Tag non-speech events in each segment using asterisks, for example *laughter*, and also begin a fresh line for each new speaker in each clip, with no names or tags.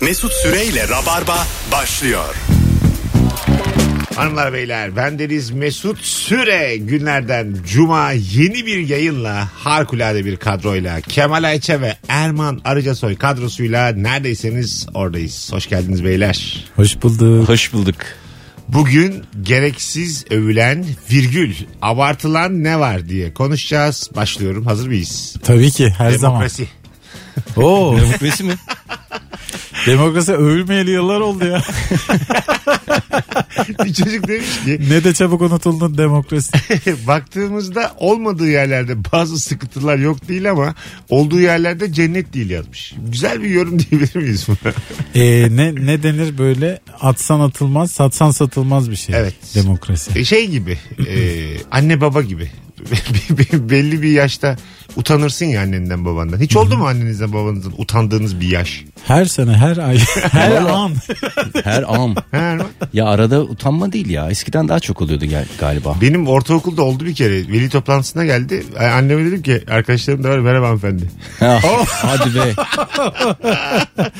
Mesut Süreyle Rabarba başlıyor.
Hanımlar beyler bendeniz Mesut Süre günlerden cuma yeni bir yayınla harikulade bir kadroyla Kemal Ayça ve Erman Arıcasoy kadrosuyla neredeyseniz oradayız. Hoş geldiniz beyler.
Hoş bulduk.
Hoş bulduk.
Bugün gereksiz övülen virgül abartılan ne var diye konuşacağız. Başlıyorum hazır mıyız?
Tabii ki her
Demokrasi. *laughs*
zaman. Oo,
Demokrasi mi?
demokrasi övülmeyeli yıllar oldu ya.
bir çocuk demiş
*laughs*
ki
*laughs* ne de çabuk unutuldun demokrasi.
baktığımızda olmadığı yerlerde bazı sıkıntılar yok değil ama olduğu yerlerde cennet değil yazmış. Güzel bir yorum diyebilir miyiz buna?
Ee, ne ne denir böyle atsan atılmaz, satsan satılmaz bir şey.
Evet.
Demokrasi.
E, şey gibi e, anne baba gibi *laughs* Be- be- belli bir yaşta utanırsın ya annenden babandan. Hiç oldu mu annenizden babanızdan utandığınız bir yaş?
Her sene, her ay, her an.
Her an.
Ha, Erman?
Ya arada utanma değil ya. Eskiden daha çok oluyordu gel- galiba.
Benim ortaokulda oldu bir kere veli toplantısına geldi. A- Anneme dedim ki arkadaşlarım da var merhaba hanımefendi.
Ha, Hadi be.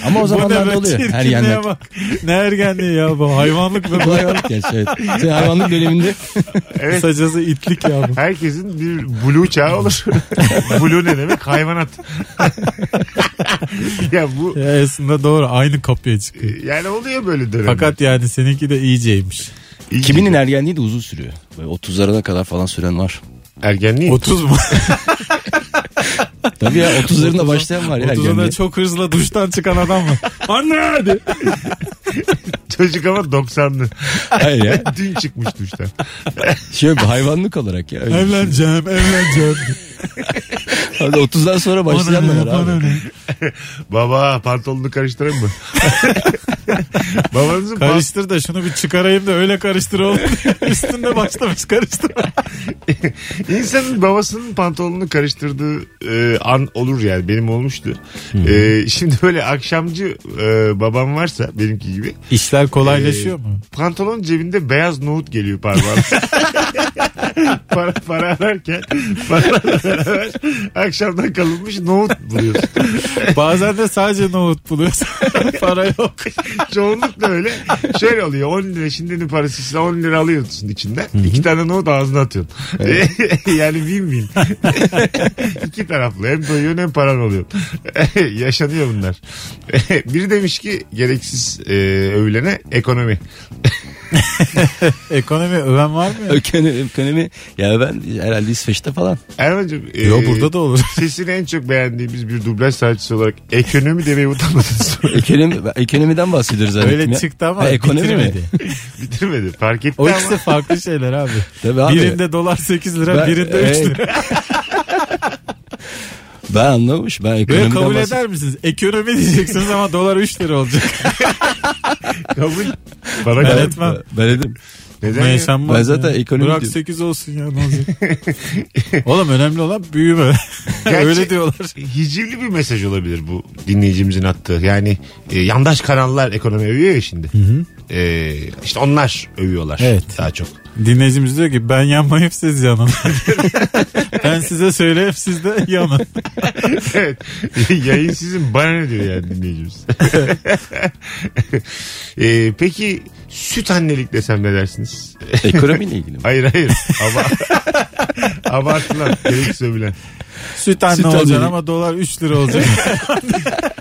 Ama o
Bu ne
zamanlarda
be,
oluyor. Her
çirkinliğe
yerden.
bak. Ne ergenliği ya bu hayvanlık mı? bu?
Hayvanlık ya şey, evet. Sen hayvanlık döneminde
Evet.
Kısacası itlik ya bu.
Herkesin bir blue çağı olur. *laughs* blue ne demek? Hayvanat. *laughs* ya bu e,
Ya aslında doğru aynı kapıya çıkıyor.
yani oluyor böyle dönemler.
Fakat yani seninki de iyiceymiş.
İyi-
kiminin ergenliği de uzun sürüyor. Böyle 30'larına kadar falan süren var.
ergenliği
30 mu?
Tabii ya 30'larında başlayan var ya
30'una
ergenliğe.
çok hızla duştan çıkan adam mı? Anne hadi.
*laughs* çocuk ama 90'lı.
Hayır ya.
Dün çıkmış duştan.
Şöyle bir hayvanlık olarak ya. Öyle.
Evleneceğim, evleneceğim.
Hadi 30'dan sonra başlayanlar var abi.
Baba pantolonunu karıştırayım mı? Babanızın pan-
Karıştır da şunu bir çıkarayım da öyle karıştır oğlum. *laughs* Üstünde başlamış karıştır.
insanın babasının pantolonunu karıştırdığı e, an olur yani benim olmuştu. E, şimdi böyle akşamcı e, babam varsa benimki gibi
İşler kolaylaşıyor
Ee,
mu?
pantolon cebinde beyaz nohut geliyor parmağına. *laughs* para, para ararken para beraber akşamdan kalınmış nohut buluyorsun.
Bazen de sadece nohut buluyorsun. *laughs* Para yok.
*laughs* Çoğunlukla öyle. Şöyle oluyor 10 lira şimdinin parası size 10 lira alıyorsun içinden. İki tane nohut ağzına atıyorsun. *laughs* yani bin bin. *laughs* İki taraflı hem doyuyorsun hem paran oluyor. *laughs* Yaşanıyor bunlar. *laughs* Biri demiş ki gereksiz e, övülene ekonomi.
Ekonomi öven var mı? ya?
Ökene, ökenemi ya ben herhalde İsveç'te falan.
Erman'cığım. e,
Yo burada da olur. *laughs*
Sesini en çok beğendiğimiz bir dublaj sanatçısı olarak ekonomi demeye utanmadınız.
Ekonomi, ekonomiden bahsediyoruz zannettim
Öyle
ya.
çıktı ama
Ha,
ekonomi
ekonomi mi?
bitirmedi.
*laughs* Bitirmedi. Fark etti
O
ama.
ikisi farklı şeyler abi.
Tabii abi.
Birinde dolar 8 lira,
Ben-
birinde 3
Evet.
lira.
*laughs* Ben anlamış. Ben
Böyle
ekonomiden
kabul
bahsediyorum.
eder misiniz? Ekonomi diyeceksiniz ama dolar 3 lira olacak.
Kabul. Bana
Ben
kabul.
etmem.
Ben ederim.
Neden
Buna
ya?
yaşanmaz
Ben zaten
ya.
ekonomi
Bırak
diyorum.
8 olsun ya ne olacak? Oğlum önemli olan büyüme.
Gerçi-
Öyle diyorlar.
E, Hicivli bir mesaj olabilir bu dinleyicimizin attığı. Yani e, yandaş kanallar ekonomi övüyor ya şimdi. E, işte onlar övüyorlar
Evet.
daha çok. *laughs*
Dinleyicimiz diyor ki ben yanmayıp siz yanın. *laughs* ben size söyleyip siz de yanın.
evet. *laughs* Yayın sizin bana ne diyor yani dinleyicimiz. *laughs* E, peki süt annelik desem ne dersiniz?
Ekonomiyle ilgili
*laughs*
mi?
Hayır hayır. Ama, *laughs* abartılan. Gereksiz övülen.
Süt anne
Süt
olacaksın
anne.
ama dolar 3 lira olacak.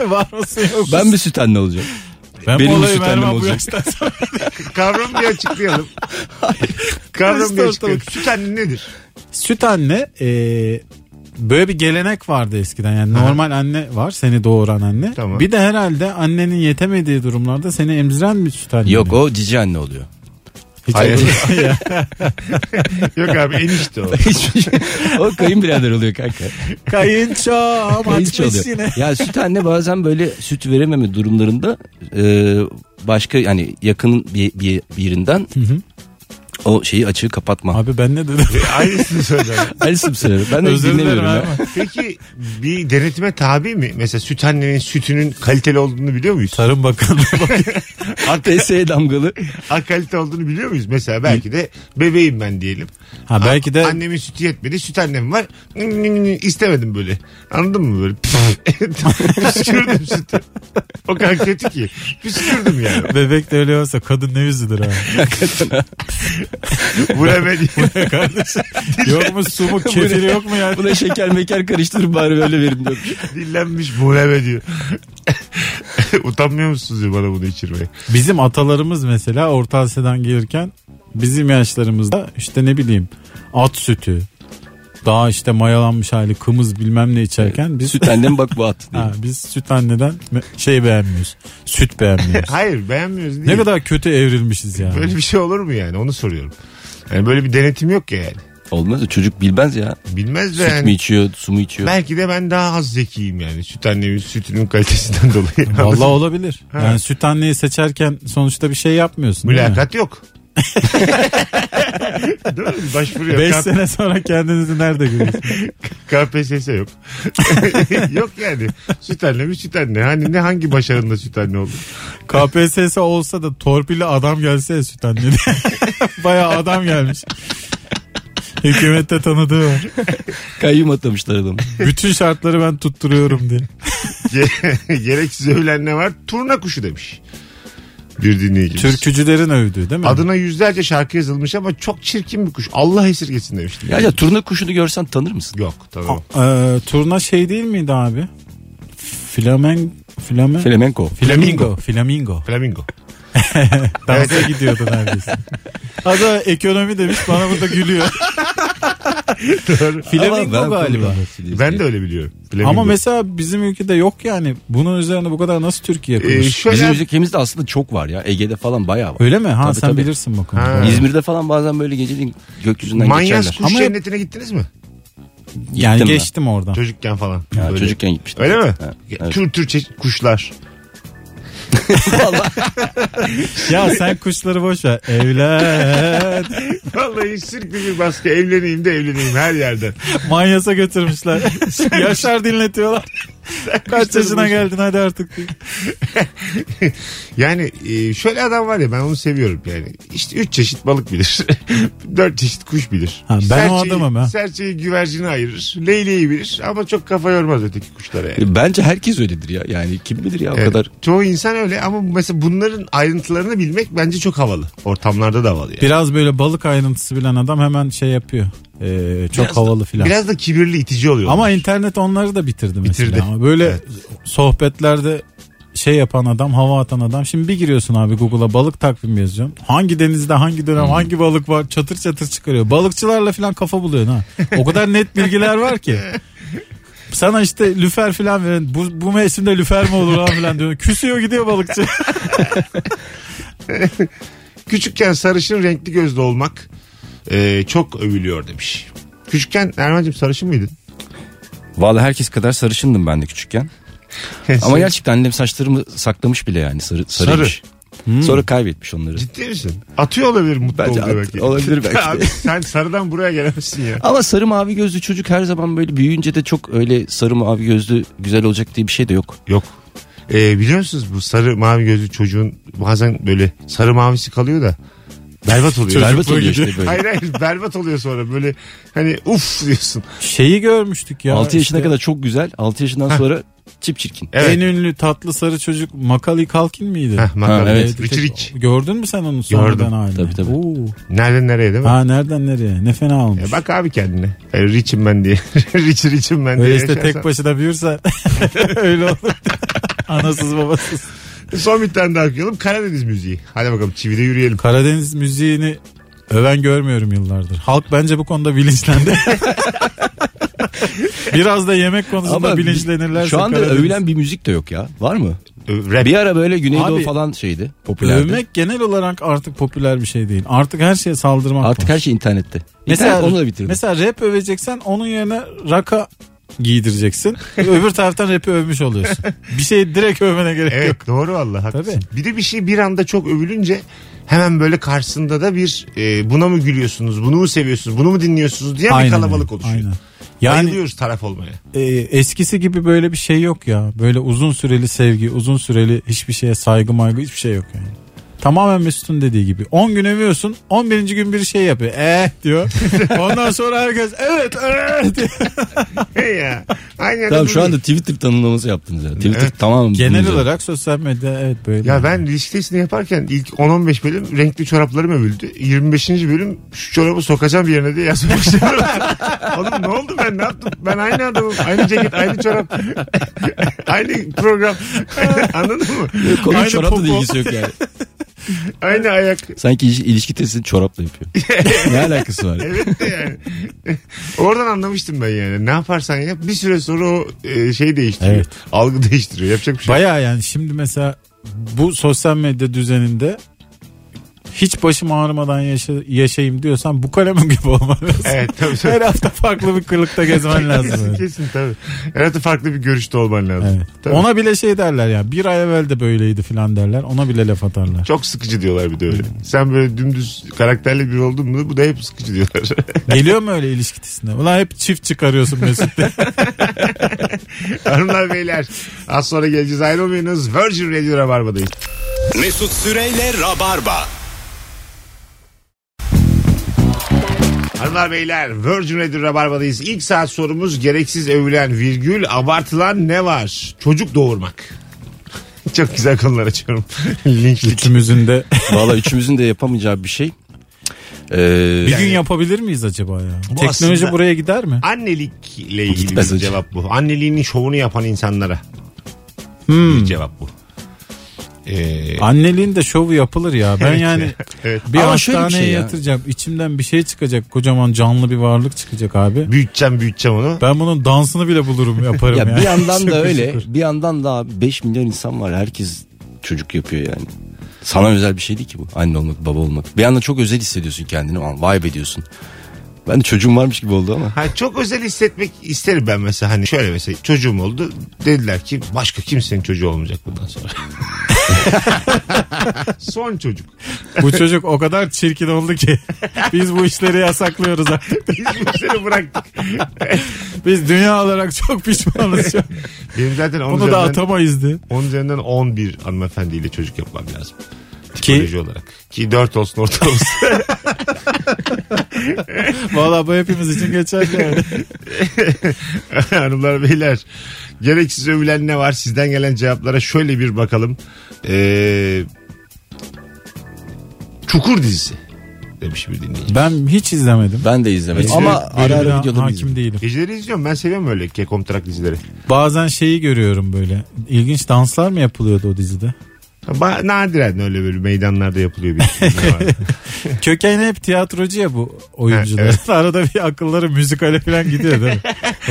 *laughs* Var mısın yok musun?
Ben bir süt anne olacağım.
ben
benim
olayım
süt annem
Erman bu
olacak.
yaştan sonra.
Kavramı bir açıklayalım. Kavramı bir
Karıştı
açıklayalım.
ortalık.
Süt anne nedir?
Süt anne e, böyle bir gelenek vardı eskiden. Yani normal anne var seni doğuran anne.
Tamam.
Bir de herhalde annenin yetemediği durumlarda seni emziren bir süt anne.
Yok
mi?
o cici anne *laughs* oluyor.
Hiç
Hayır. *laughs*
olur- Ya.
Yok abi enişte o.
şey- o kayınbirader oluyor kanka.
Kayınço
*laughs* Kayınço
açmış
oluyor.
yine.
Ya süt anne bazen böyle süt verememe durumlarında e, başka yani yakın bir, bir, birinden O şeyi açığı kapatma.
Abi ben ne dedim?
Aynısını söylüyorum.
Alice'im söylüyor. Ben de
Özür dilerim
dinlemiyorum ya.
abi.
Peki bir denetime tabi mi? Mesela süt annenin sütünün kaliteli olduğunu biliyor muyuz?
Tarım Bakanlığı.
ATS E damgalı.
Ha kalite olduğunu biliyor muyuz? Mesela belki de bebeğim ben diyelim.
Ha belki de
Annemin sütü yetmedi. Süt annem var. İstemedim böyle. Anladın mı böyle? *laughs* Püskürdüm sütü. O kadar kötü ki. Püskürdüm yani.
*laughs* bebek de öyle olsa kadın ne yüzüdür abi.
Bu ne be diye.
Kardeşim. *laughs* yok mu sumuk kefiri yok mu ya?
Buna şeker meker karıştırıp bari böyle verin diyor.
Dillenmiş bu ne be diyor. *laughs* Utanmıyor musunuz diyor bana bunu içirmeye.
Bizim atalarımız mesela Orta Asya'dan gelirken bizim yaşlarımızda işte ne bileyim at sütü daha işte mayalanmış hali kımız bilmem ne içerken biz
Süt annem bak bu at. diye.
ha, biz süt anneden me- şey beğenmiyoruz. Süt
*laughs*
beğenmiyoruz.
Hayır beğenmiyoruz değil.
ne kadar kötü evrilmişiz yani.
Böyle bir şey olur mu yani onu soruyorum. Yani böyle bir denetim yok ya yani.
Olmaz o çocuk bilmez ya.
Bilmez de
Süt mü
yani.
içiyor, su mu içiyor?
Belki de ben daha az zekiyim yani. Süt annemin sütünün kalitesinden *laughs* dolayı.
Vallahi olabilir.
Ha.
Yani süt anneyi seçerken sonuçta bir şey yapmıyorsun. değil mi?
Mülakat yok. *laughs* Değil mi? Başvuru yok.
Beş
K-
sene sonra kendinizi nerede görüyorsunuz?
KPSS yok. yok *laughs* yani. Süt anne mi süt anne. Hani ne hangi başarında süt anne oldu?
KPSS olsa da torpille adam gelse ya süt anne diye. *laughs* Bayağı adam gelmiş. Hükümette tanıdığı var.
Kayyum atamışlar adamı.
Bütün şartları ben tutturuyorum diye.
Ge- *laughs* Gereksiz övülen ne var? Turna kuşu demiş. Bir dinleyicimiz.
Türkücülerin övdüğü değil mi?
Adına yüzlerce şarkı yazılmış ama çok çirkin bir kuş. Allah esirgesin demiştim.
Ya ya turna kuşunu görsen tanır mısın?
Yok tamam.
Ee, turna şey değil miydi abi? Flamen... Flamen...
Flamenco.
Flamingo. Flamingo. *laughs*
Flamingo.
Dansa gidiyordu neredeyse. Ada ekonomi demiş bana burada gülüyor. Flamingo
Ama ben
galiba.
turna kuşu diye-
Ben de öyle biliyorum. Flamingo.
Ama mesela bizim ülkede yok yani. Bunun üzerine bu kadar nasıl Türkiye
Ee,
kurmuş?
şöyle
Bizim ülkemizde aslında çok var ya. Ege'de falan bayağı var.
Öyle mi? Ha
Tabii,
sen
tabii.
bilirsin bu konuda.
Ha.
İzmir'de falan bazen böyle geceliğin gökyüzünden
Manyas
geçerler.
kuş
Ama-
cennetine gittiniz mi?
Yani
Gittim ben.
geçtim oradan.
Çocukken falan.
Ya,
Böyle.
çocukken gitmiştim.
Öyle mi?
Ha,
Ya,
evet.
Tür tür çe- kuşlar. *laughs*
ya sen kuşları boş ver. *laughs* Evlen.
Vallahi sürekli bir baskı. Evleneyim de evleneyim her yerden.
Manyasa götürmüşler. Yaşar dinletiyorlar. Kaç
kuşları
yaşına
boş ver.
geldin hadi artık.
*laughs* Yani e, şöyle adam var ya ben onu seviyorum yani. İşte üç çeşit balık bilir. *laughs* Dört çeşit kuş bilir.
Ha, ben o adamım ha.
Serçeyi güvercini ayırır. Leyleği bilir ama çok kafa yormaz öteki kuşlara yani.
E, Bence herkes öyledir ya. Yani kim bilir ya o
Evet,
kadar.
Çoğu insan öyle ama mesela bunların ayrıntılarını bilmek bence çok havalı. Ortamlarda da havalı yani.
Biraz böyle balık ayrıntısı bilen adam hemen şey yapıyor. Ee, çok
Biraz da-
havalı filan.
Biraz da kibirli itici oluyor.
Ama internet onları da bitirdi mesela.
Bitirdi.
Ama Böyle
Evet.
sohbetlerde şey yapan adam, hava atan adam. Şimdi bir giriyorsun abi Google'a balık takvimi yazıyorsun. Hangi denizde, hangi dönem,
Hmm.
hangi balık var çatır çatır çıkarıyor. Balıkçılarla falan kafa buluyorsun ha. O kadar net bilgiler var
*laughs*
ki. Sana işte lüfer falan verin. Bu, bu mevsimde lüfer mi olur lan falan diyor. Küsüyor gidiyor balıkçı.
Küçükken sarışın renkli gözlü olmak e, çok övülüyor demiş. Küçükken Erman'cığım sarışın mıydın?
Vallahi herkes kadar sarışındım ben de küçükken.
*laughs*
Ama gerçekten annem saçlarımı saklamış bile yani sarı, sarıymış. Sonra kaybetmiş onları.
Ciddi misin? Atıyor olabilir mutlu
Bence
olduğu
at-
belki.
olabilir belki de.
Abi sen sarıdan buraya gelemezsin ya.
Ama sarı mavi gözlü çocuk her zaman böyle büyüyünce de çok öyle sarı mavi gözlü güzel olacak diye bir şey de yok.
Yok. Ee, biliyor musunuz bu sarı mavi gözlü çocuğun bazen böyle sarı mavisi kalıyor da berbat oluyor.
Berbat oluyor işte böyle.
hayır hayır berbat oluyor sonra böyle hani uf diyorsun.
Şeyi görmüştük ya.
6 yaşına
işte
kadar çok güzel. 6 yaşından sonra çip çirkin.
Evet.
En ünlü tatlı sarı çocuk Macaulay Culkin miydi?
Heh, makara.
Ha, evet.
Evde tek-
Richard Rich.
Gördün mü sen onu sonradan
Gördüm.
halini?
Tabii, tabii.
Oo.
Nereden nereye değil mi?
Ha nereden nereye? Ne fena olmuş.
Ya bak abi kendine. E, Rich'im ben diye. *laughs* Rich Rich'im ben diye.
Öyle işte
yaşarsan.
tek başına büyürse *laughs* öyle olur. Anasız babasız.
Son bir tane daha okuyalım. Karadeniz müziği. Hadi bakalım çivide yürüyelim.
Karadeniz müziğini öven görmüyorum yıllardır. Halk bence bu konuda bilinçlendi. *laughs* Biraz da yemek konusunda
Ama
bilinçlenirlerse.
şu anda
Karadeniz-
övülen bir müzik de yok ya. Var mı?
Ö, E, Rap.
Bir ara böyle Güneydoğu
Abi,
falan şeydi. Popülerdi.
Övmek genel olarak artık popüler bir şey değil. Artık her şeye saldırmak
Artık
var.
her şey internette. İnternet
Mesela,
onu da bitirdi.
mesela rap öveceksen onun yerine raka giydireceksin. Öbür taraftan rapi övmüş oluyorsun. Bir şeyi direkt
*laughs*
övmene gerek
Evet
yok.
doğru valla haklısın.
Tabii.
Bir de bir şey bir anda çok övülünce hemen böyle karşısında da bir e, buna mı gülüyorsunuz, bunu mu seviyorsunuz, bunu mu dinliyorsunuz diye bir
Aynen
kalabalık
öyle,
oluşuyor.
aynen. Yani
Bayılıyoruz taraf olmaya. *laughs*
e, eskisi gibi böyle bir şey yok ya. Böyle uzun süreli sevgi, uzun süreli hiçbir şeye saygı maygı hiçbir şey yok yani. Tamamen Mesut'un dediği gibi. 10 gün övüyorsun. 11. gün bir şey yapıyor. Eh
*laughs*
diyor. Ondan sonra herkes evet evet diyor.
Hey ya. Aynen
Tamam
öyle.
şu anda Twitter tanımlaması yaptınız ya. Twitter tamamen
Genel
bunun üzerine.
olarak sosyal medya evet böyle.
Ya ben ilişkisini yaparken ilk 10-15 bölüm renkli çoraplarım övüldü. 25. bölüm şu çorabı sokacağım bir yerine diye yazmak istiyorum. *laughs* Oğlum ne oldu ben ne yaptım? Ben aynı adamım. Aynı ceket, aynı çorap. *laughs* aynı program. *laughs* Anladın mı?
Konu
Aynı
çorapla da
popo.
ilgisi
*laughs*
yok yani.
Aynı ayak.
Sanki il- ilişki testini
*laughs*
çorapla yapıyor. ne alakası var?
Evet de yani. Oradan anlamıştım ben yani. Ne yaparsan yap bir süre sonra o e, şey değiştiriyor.
Evet.
Algı değiştiriyor. Yapacak bir şey. yok.
Baya yani şimdi mesela bu sosyal medya düzeninde hiç başım ağrımadan yaşa, yaşayayım diyorsan bu kalemim *laughs* gibi olman lazım.
Evet tabii. tabii.
Her hafta farklı bir
*laughs*
kırlıkta gezmen
kesin
lazım.
kesin tabii. Herhalde farklı bir görüşte olman lazım.
Evet.
Tabii.
Ona bile şey derler ya bir ay evvel de böyleydi filan derler ona bile laf
*laughs*
atarlar.
Çok sıkıcı diyorlar bir de öyle. Sen böyle dümdüz karakterli biri oldun mu bu da hep sıkıcı diyorlar. *laughs*
Geliyor mu öyle ilişkisinde? Ulan hep çift çıkarıyorsun Mesut.
*laughs*
diye.
Hanımlar beyler az sonra geleceğiz ayrılmayınız. Virgin Radio Rabarba'dayız.
Mesut Süreyle Rabarba.
Hanımlar beyler Virgin Radio Rabarba'dayız. İlk saat sorumuz gereksiz övülen virgül abartılan ne var? Çocuk doğurmak. *laughs* Çok güzel konular açıyorum. *laughs* Linçlik.
Üçümüzün de.
Valla üçümüzün de yapamayacağı bir şey. Ee,
Bir gün yapabilir miyiz acaba ya?
Bu
Teknoloji
aslında-
buraya gider mi?
Annelikle ilgili
Gitmez
bir
hocam.
cevap bu. Anneliğinin şovunu yapan insanlara
Hmm.
bir cevap bu. Ee,
Anneliğin de şovu yapılır ya. Ben yani
evet.
Bir
Ama şöyle bir
hastaneye
şey ya.
yatıracağım. İçimden bir şey çıkacak. Kocaman canlı bir varlık çıkacak abi.
Büyüteceğim büyüteceğim onu.
Ben bunun dansını bile bulurum yaparım
ya
ya.
bir
*laughs*
yandan da
Şükür
öyle.
şükür.
Bir yandan da abi 5 milyon insan var. Herkes çocuk yapıyor yani. Sana özel bir şey değil ki bu. Anne olmak, baba olmak. Bir yandan çok özel hissediyorsun kendini. Aman vay be diyorsun. Ben de çocuğum varmış gibi oldu ama.
Ha, çok özel hissetmek isterim ben mesela hani şöyle mesela çocuğum oldu dediler ki başka kimsenin çocuğu olmayacak bundan sonra. *laughs* Son çocuk.
Bu çocuk o kadar çirkin oldu
*laughs*
ki biz bu işleri yasaklıyoruz artık.
Biz bu işleri bıraktık.
Biz dünya olarak çok pişmanız. şu an.
Benim zaten onun
Bunu da
üzerinden,
atamayız diye.
onun üzerinden 11 hanımefendiyle çocuk yapmam lazım.
Ki
Psikoloji olarak. Ki 4 olsun *laughs* ortalaması.
valla bu hepimiz için geçerli. yani.
Hanımlar beyler gereksiz övülen ne var sizden gelen cevaplara şöyle bir bakalım. Ee, Çukur dizisi demiş bir dinleyici.
*laughs* Ben hiç izlemedim.
Ben de izlemedim.
Hiç
ama
böyle-
ara
böyle
ara
bir
videolarını
hakim
izledim.
değilim.
Geceleri izliyorum ben seviyorum öyle kekomtrak dizileri.
Bazen şeyi görüyorum böyle. İlginç danslar mı yapılıyordu o dizide?
Ba- nadiren öyle böyle meydanlarda yapılıyor bir şey.
Köken hep tiyatrocu ya bu oyuncular.
Ha, evet.
*laughs* Arada bir akılları müzikale falan gidiyor değil mi?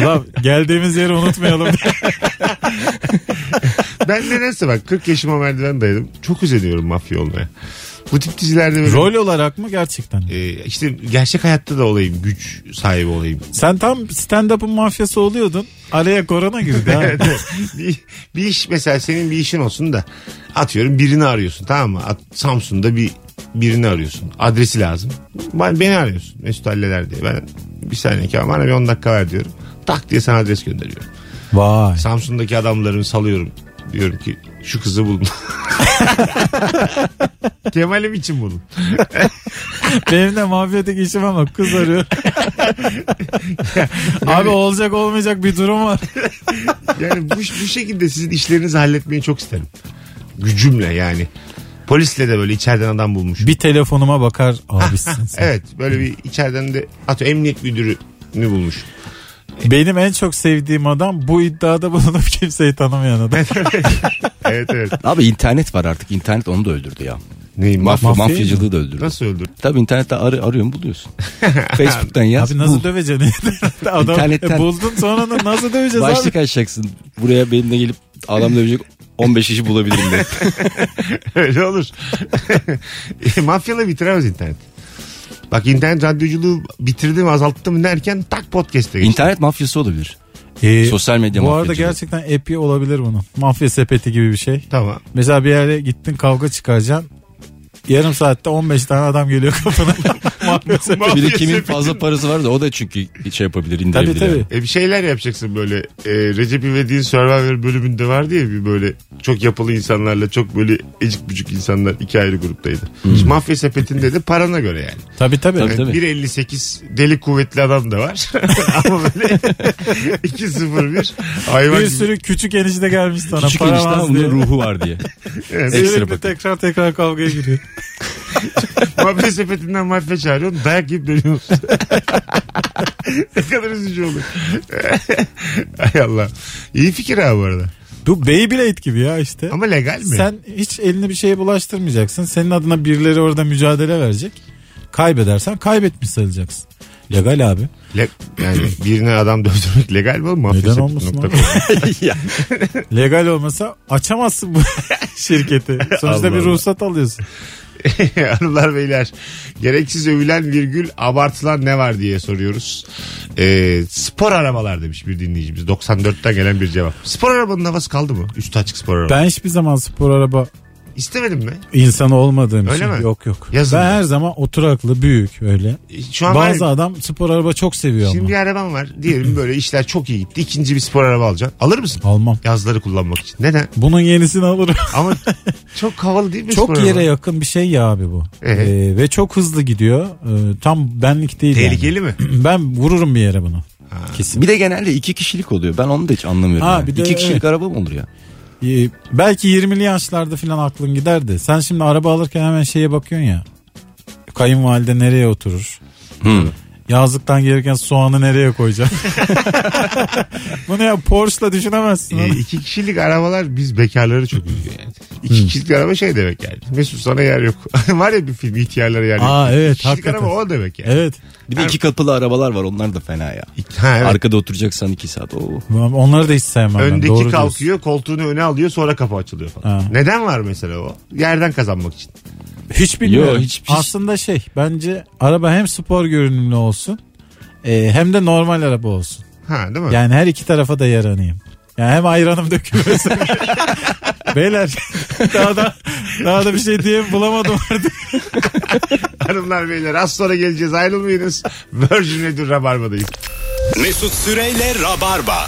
Ulan geldiğimiz yeri unutmayalım. diye.
ben de neyse bak 40 yaşıma merdiven dayadım. Çok üzülüyorum mafya olmaya. Bu tip dizilerde böyle...
Rol olarak mı gerçekten?
Ee, işte gerçek hayatta da olayım. Güç sahibi olayım.
Sen tam stand-up'ın mafyası oluyordun. Araya korona girdi ha.
*laughs* bir, bir iş mesela senin bir işin olsun da atıyorum birini arıyorsun tamam mı? At- Samsun'da bir birini arıyorsun. Adresi lazım. Ben, beni arıyorsun. Mesut halleder diye. Ben bir saniye ki bana bir 10 dakika ver diyorum. Tak diye sana adres gönderiyorum.
Vay.
Samsun'daki adamlarımı salıyorum. Diyorum ki şu kızı bulun. *laughs* Kemal'im için bulun.
Benim de mafyadaki işim ama kız arıyor. *laughs* Abi olacak olmayacak bir durum var.
Yani bu, bu şekilde sizin işlerinizi halletmeyi çok isterim. Gücümle yani. Polisle de böyle içeriden adam bulmuş.
Bir telefonuma bakar abisin sen.
Evet böyle bir içeriden de atıyor emniyet müdürünü bulmuş.
Benim en çok sevdiğim adam bu iddiada bulunup kimseyi tanımayan adam.
Evet evet.
Abi internet var artık. İnternet onu da öldürdü ya.
Neyim?
Mafya,
Mafya
mafyacılığı da öldürdü.
Nasıl öldür? *laughs*
Tabii internette arı,
*laughs*
arıyorum buluyorsun. Facebook'tan yaz.
Abi nasıl
bul.
döveceksin? *laughs* adam
İnternetten.
e, buldun sonra da nasıl döveceğiz abi?
Başlık açacaksın. Buraya benimle gelip adam dövecek 15 kişi bulabilirim
*laughs*
diye.
Öyle olur. *laughs* E, Mafyayla bitiremez internet. Bak internet radyoculuğu bitirdim azalttım derken tak podcast'e geçti.
İnternet mafyası olabilir.
Ee,
Sosyal medya
Bu arada
mafyacılığı.
gerçekten epi olabilir bunun. Mafya sepeti gibi bir şey.
Tamam.
Mesela bir yere gittin kavga çıkaracaksın. Yarım saatte 15 tane adam geliyor kafana. Mafya sepeti.
Bir de
Mafya
kimin
sepeti.
fazla parası var da o da çünkü şey yapabilir indirebilir.
tabii tabii.
yani.
E bir şeyler yapacaksın böyle. E, Recep İvedik'in Survivor bölümünde vardı ya bir böyle çok yapılı insanlarla çok böyle ecik bücük insanlar iki ayrı gruptaydı. Şimdi mafya sepetinde de parana göre yani.
Tabii Hmm. tabii.
Tabii,
Yani 1.58 deli kuvvetli adam da var. *laughs* Ama böyle *laughs* 2.01 hayvan
Bir
gibi.
sürü küçük enişte gelmiş sana.
Küçük
para
enişten
var
onun
diye.
ruhu var
*laughs*
diye.
Evet.
Ekstra
Sürekli
bakın.
tekrar tekrar kavgaya giriyor.
Mafya sepetinden mafya çağırıyorsun dayak yiyip dönüyorsun. *laughs* ne kadar üzücü olur. *laughs* Ay Allah. İyi fikir abi bu arada.
Bu Beyblade gibi ya işte.
Ama legal mi?
Sen hiç elini bir şeye bulaştırmayacaksın. Senin adına birileri orada mücadele verecek. Kaybedersen kaybetmiş sayılacaksın. Legal abi.
Le-
*clears throat*
yani birine adam dövdürmek legal mi oğlum? Mafya
Neden
sepeti
olmasın
nokta
abi?
com.
Ya,
Legal olmasa açamazsın bu *laughs* şirketi. Sonuçta
Allah
bir
Allah.
ruhsat alıyorsun.
*laughs* Hanımlar beyler gereksiz övülen virgül abartılan ne var diye soruyoruz. Ee, spor arabalar demiş bir dinleyicimiz. 94'ten gelen bir cevap. Spor arabanın havası kaldı mı? Üstü açık spor araba.
Ben hiçbir zaman spor araba
İstemedim mi?
insanı olmadığım
Öyle
için.
mi?
Yok yok.
Yazın
ben
mı?
her zaman oturaklı büyük öyle.
Ee, Şu an
Bazı
var-
adam spor araba çok seviyor
Şimdi
ama.
bir arabam var. Diyelim böyle işler çok iyi gitti. İkinci bir spor araba alacaksın. Alır mısın?
Almam.
Yazları kullanmak için. Neden?
Bunun yenisini alırım. *laughs*
Ama çok havalı değil mi spor
çok yere
araba?
yakın bir şey ya abi bu.
Ee?
Ee, ve çok hızlı gidiyor. Ee, tam benlik değil
Tehlikeli mi?
yani. Ben vururum bir yere bunu. Kesin.
bir de genelde iki kişilik oluyor. Ben onu da hiç anlamıyorum.
Ha,
yani.
bir de
iki kişilik
evet.
araba mı olur ya?
Ee, belki 20'li yaşlarda falan aklın giderdi. Sen şimdi araba alırken hemen şeye bakıyorsun ya. Kayınvalide nereye oturur?
Hı.
Yazlıktan gelirken soğanı nereye koyacağım? *laughs* Bunu ya Porsche'la düşünemezsin.
E,
oğlum.
iki kişilik arabalar biz bekarları çok üzüyor yani. İki kişilik araba şey demek yani. Mesut sana yer yok. *laughs* Var ya bir film ihtiyarlara yer yok.
Aa, evet,
İki kişilik
hakikaten.
araba o demek yani.
Evet.
Bir de iki kapılı arabalar var onlar da fena ya.
Ha, evet.
Arkada oturacaksan iki saat. Oo.
Onları da hiç sevmem ben.
Öndeki
Doğru
kalkıyor
diyorsun.
koltuğunu öne alıyor sonra kapı açılıyor falan.
Ha.
Neden var mesela o? Yerden kazanmak için.
Hiç bilmiyorum.
Yo, hiç- hiç-
Aslında şey bence araba hem spor görünümlü olsun e, hem de normal araba olsun.
Ha değil mi?
Yani her iki tarafa da yaranayım. Yani hem ayranım dökülmesin. Beyler daha da daha da bir şey diye bulamadım artık.
*laughs* Hanımlar beyler az sonra geleceğiz
*laughs*
ayrılmayınız. Virgin Radio Rabarba'dayız.
Mesut Süreyle Rabarba.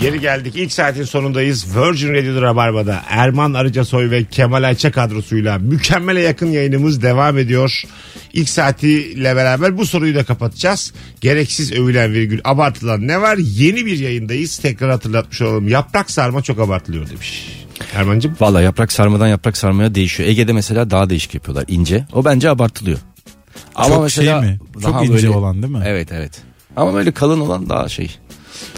Geri geldik. İlk saatin sonundayız. Virgin Radio Rabarba'da Erman Arıcasoy ve Kemal Ayça kadrosuyla mükemmele yakın yayınımız devam ediyor. İlk saatiyle beraber bu soruyu da kapatacağız. Gereksiz övülen virgül abartılan ne var? Yeni bir yayındayız. Tekrar hatırlatmış olalım. Yaprak sarma çok abartılıyor demiş. Erman'cığım
Valla yaprak sarmadan yaprak sarmaya değişiyor. Ege'de mesela daha değişik yapıyorlar ince. O bence abartılıyor. Ama
Çok şey mi? Çok ince
böyle-
olan değil mi?
Evet evet. Ama böyle kalın olan daha şey.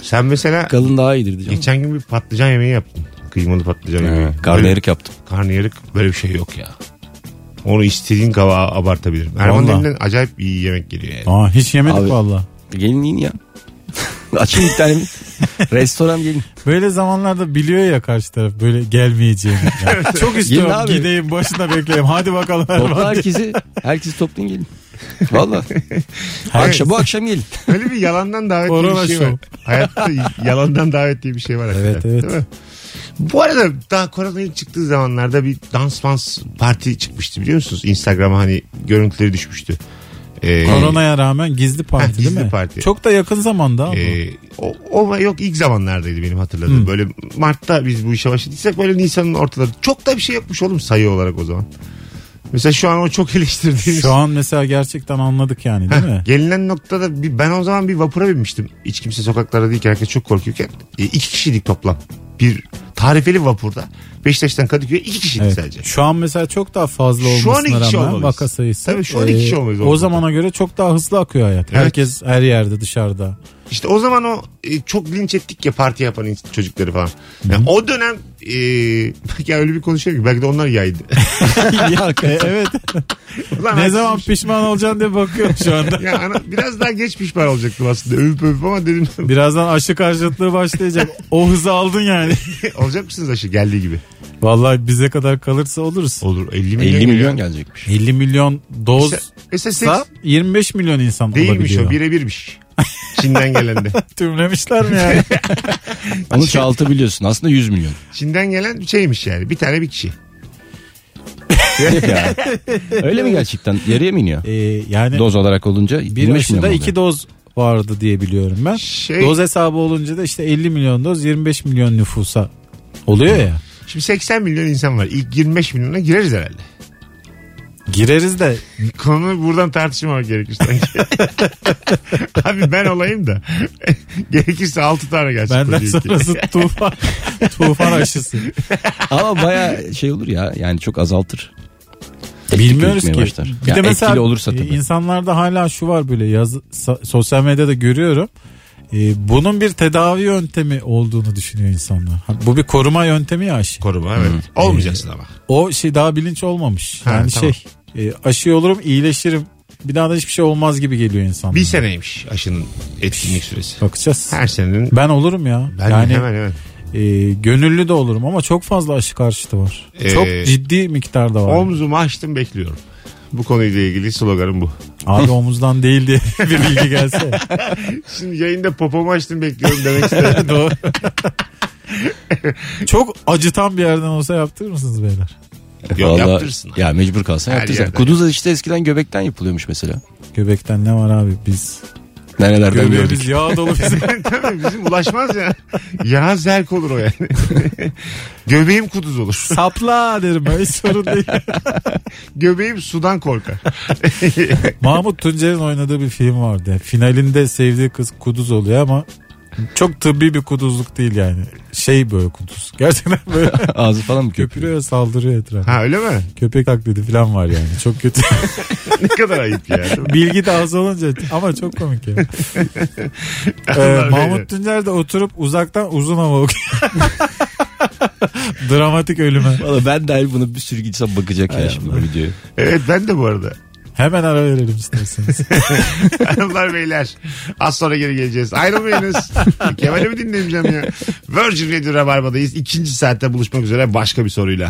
sen mesela
Kalın daha iyidir diyeceğim.
geçen gün bir patlıcan yemeği yaptın. Kıymalı patlıcan yemeği.
He, Karnıyarık yaptım.
Böyle- Karnıyarık böyle bir şey yok ya. Onu istediğin kavağa abartabilirim. Erman'ın
Vallahi.
elinden acayip iyi yemek geliyor yani.
Aa, hiç yemedik
Abi.
valla.
Gelin yiyin ya. *laughs* Açın bir tane bir restoran gelin.
Böyle zamanlarda biliyor ya karşı taraf böyle gelmeyeceğini. Yani Çok istiyorum
Gelin abi.
gideyim başına bekleyeyim hadi bakalım.
Topla
Erman diye.
herkesi. Herkesi toplayın gelin. Valla.
*laughs* Hayır.
Akşam, bu akşam gelin.
Öyle bir yalandan davet diye
Korona
bir şey var.
şov.
Hayatta yalandan davet diye bir şey var.
Evet,
hakikaten,
evet.
değil mi? Bu arada daha korona ilk çıktığı zamanlarda bir dans dans parti çıkmıştı biliyor musunuz? Instagram'a hani görüntüleri düşmüştü. Ee,
Koronaya rağmen gizli parti
gizli
değil mi?
parti.
Çok da yakın zamanda ama.
ee, o, o yok ilk zamanlardaydı benim hatırladığım.
Hmm.
Böyle Mart'ta biz bu işe başladıysak böyle Nisan'ın ortaları. Çok da bir şey yokmuş oğlum sayı olarak o zaman. Mesela şu an o çok eleştirdiğimiz.
Şu an mesela gerçekten anladık yani değil mi?
Gelinen noktada bir, ben o zaman bir vapura binmiştim. Hiç kimse sokaklarda değilken herkes çok korkuyorken. E, iki kişilik toplam. Bir tarifeli vapurda. Beşiktaş'tan Kadıköy'e iki kişilik
Evet.
sadece.
Şu an mesela çok daha fazla
Şu an iki
olmasına
kişi
rağmen
olmalıyız.
vaka sayısı.
Tabii şu an iki
e,
kişi olmalıyız
O
ortada.
zamana göre çok daha hızlı akıyor hayat.
Evet.
Herkes her
*laughs*
yerde dışarıda.
İşte o zaman o e, çok linç ettik ya parti yapan ins- çocukları falan. Yani o dönem e, *laughs* belki öyle bir konuşuyor ki belki de onlar
*laughs*
yaydı.
Ya, e, evet.
Ulan
ne
haksız-
zaman pişman olacaksın diye bakıyorum
*laughs*
şu anda.
Ya ana- biraz daha geç pişman olacaktım aslında. Övüp övüp ama dedim *laughs*
Birazdan aşı karşıtlığı başlayacak. O hızı aldın yani.
olacak mısınız aşı geldiği gibi?
Vallahi bize kadar kalırsa oluruz.
Olur 50 milyon.
50 milyon
geliyor.
gelecekmiş.
50 milyon doz
Mesela, mesela
Sa-
seks
25 milyon insan
değilmiş
olabiliyor. *laughs*
o birebirmiş. Çin'den gelen de.
Tümlemişler
*laughs*
mi yani?
Onu çoğaltabiliyorsun. Aslında 100 milyon.
Çin'den gelen şeymiş yani. Bir tane bir kişi.
Yok
*laughs*
ya. Öyle mi gerçekten? Yarıya mı iniyor?
Ee, yani
Doz olarak olunca 25
bir
milyon
aşıda
oluyor.
iki doz vardı diye biliyorum ben.
Şey-
Doz hesabı olunca da işte 50 milyon doz 25 milyon nüfusa oluyor ya.
Şimdi 80 milyon insan var. İlk 25 milyona gireriz herhalde.
Gireriz de
Konu buradan tartışmamak gerekir
*laughs*
sanki. Abi ben olayım da. *laughs* Gerekirse 6 tane gelsin.
benden
koca ülkeye.
sonrası
*laughs*
tufan, tufan aşısı.
Ama baya şey olur ya yani çok azaltır. Etkili
Bilmiyoruz ki.
gözükmeye başlar.
Bir
Ya
de mesela
etkili olursa
e,
tabii.
insanlarda hala şu var böyle yazı, sa- sosyal medyada görüyorum. E, bunun bir tedavi yöntemi olduğunu düşünüyor insanlar. Ha, Bu bir koruma yöntemi ya aşı.
Koruma evet.
Hmm.
Olmayacaksın ama.
O şey daha bilinç olmamış.
Ha,
yani
tamam.
şey e, aşı olurum iyileşirim. Bir daha da hiçbir şey olmaz gibi geliyor insanlara.
Bir şey- seneymiş aşının etkinlik süresi.
Bakacağız.
Her senenin
Ben olurum ya.
ben
yani
hemen hemen.
e, gönüllü de olurum ama çok fazla aşı karşıtı var.
Ee,
çok ciddi miktarda var.
Omzumu açtım bekliyorum. Bu konuyla ilgili sloganım bu.
*laughs* Abi omuzdan değil diye bir bilgi gelse.
Şimdi yayında popomu açtım bekliyorum
*laughs*
demek istedim.
Doğru. Çok acıtan bir yerden olsa yaptırır mısınız beyler?
Yok
Vallahi-
yaptırırsın.
Ya mecbur kalsan
Her
yaptırsın.
yerden.
Kuduz işte eskiden göbekten yapılıyormuş mesela.
Göbekten ne var abi biz?
Nerelerden gördük.
Göbeğimiz yağ dolu bizim.
Tabii bizim ulaşmaz ya. Ya zerk olur o yani. *laughs* Göbeğim kuduz olur.
*laughs* Sapla derim ben hiç sorun değil.
Göbeğim sudan korkar.
*laughs* Mahmut Tuncer'in oynadığı bir film vardı. Finalinde sevdiği kız kuduz oluyor ama çok tıbbi bir kuduzluk değil yani. Şey böyle kuduz. Gerçekten *laughs* böyle
*laughs* Ağzı falan mı köpürüyor?
köpürüyor saldırıyor etrafa.
Ha öyle mi?
Köpek taklidi falan var yani. Çok kötü.
Ne kadar ayıp ya.
Bilgi de az olunca ama çok komik ya. Ee,
Allah bilir.
Mahmut Tuncer de oturup uzaktan uzun hava okuyor. *laughs* Dramatik ölüme.
Valla ben dahil buna bir sürü insan bakacak ya şimdi bu videoya.
Evet ben de bu arada.
Hemen ara verelim isterseniz.
Hanımlar beyler az sonra geri geleceğiz. Ayrılmayınız. Kemal'i mi dinleyeceğim ya? Virgin Radio Rabarba'dayız. İkinci saatte buluşmak üzere başka bir soruyla.